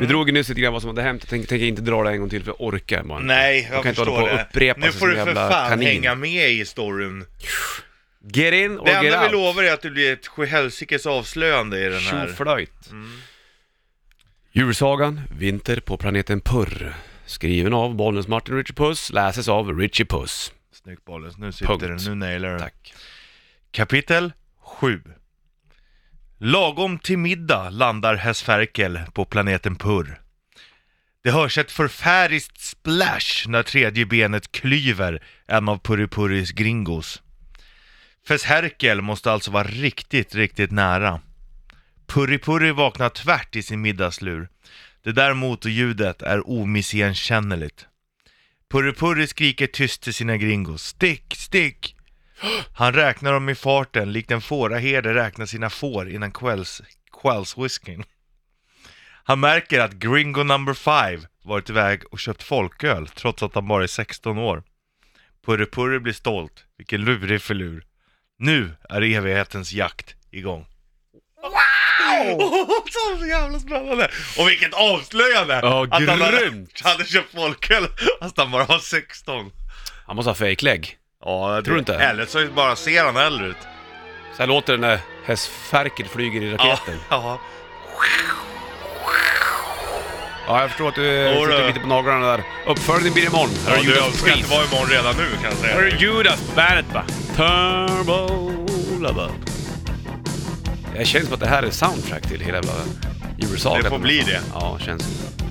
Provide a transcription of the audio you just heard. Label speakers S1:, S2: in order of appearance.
S1: Vi drog ju nyss lite grann vad som hade hänt. Jag tänker tänker inte dra det en gång till för jag orkar bara inte.
S2: Nej,
S1: Man
S2: jag
S1: kan inte
S2: förstår
S1: hålla på och
S2: det.
S1: upprepa
S2: nu
S1: sig
S2: får
S1: som
S2: du
S1: en
S2: för
S1: jävla
S2: fan
S1: kanin.
S2: hänga med i storyn.
S1: Get in och
S2: Det
S1: get
S2: enda vi
S1: out.
S2: lovar är att det blir ett sjuhelsikes avslöjande i den här. Mm.
S1: Tjoflöjt. Djursagan, Vinter på planeten Purr. Skriven av Bollnäs Martin Richie Puss, läses av Richie Puss.
S2: Snyggt Bollens, nu sitter
S1: Punkt.
S2: den, nu nailar du.
S1: Tack.
S2: Kapitel 7 Lagom till middag landar Hesferkel på planeten Purr. Det hörs ett förfäriskt splash när tredje benet klyver en av Purripurris gringos. Fesherkel måste alltså vara riktigt, riktigt nära. Purripurri vaknar tvärt i sin middagslur. Det där motorljudet är omissigenkännligt. Purripurri skriker tyst till sina gringos. Stick, stick! Han räknar dem i farten, likt en fåraherde räknar sina får innan kvälls, kvällswhiskyn. Han märker att Gringo number five varit iväg och köpt folköl trots att han bara är 16 år. Purre Purre blir stolt, vilken lurig filur. Nu är evighetens jakt igång. Wow! Så jävla spännande! Och vilket avslöjande!
S1: Ja,
S2: att han hade,
S1: grymt.
S2: hade köpt folköl fast han bara var 16.
S1: Han måste ha fejklägg.
S2: Ja, det-
S1: Tror du inte?
S2: Eller så bara ser han äldre ut.
S1: Så här låter det när hästfärket flyger i raketen.
S2: Ja,
S1: Ja, jag förstår att du
S2: Jodå.
S1: sitter lite på naglarna där. Uppföljning blir imorgon. Här
S2: ja
S1: har
S2: du, jag
S1: Judas
S2: ska
S1: Priest.
S2: inte vara imorgon redan nu kan jag
S1: Här
S2: säga.
S1: är Judas Bandet va? Turbo Lover. Jag känns som att det här är soundtrack till hela jävla Djursagan.
S2: Det får bli det.
S1: Ja, känns som det.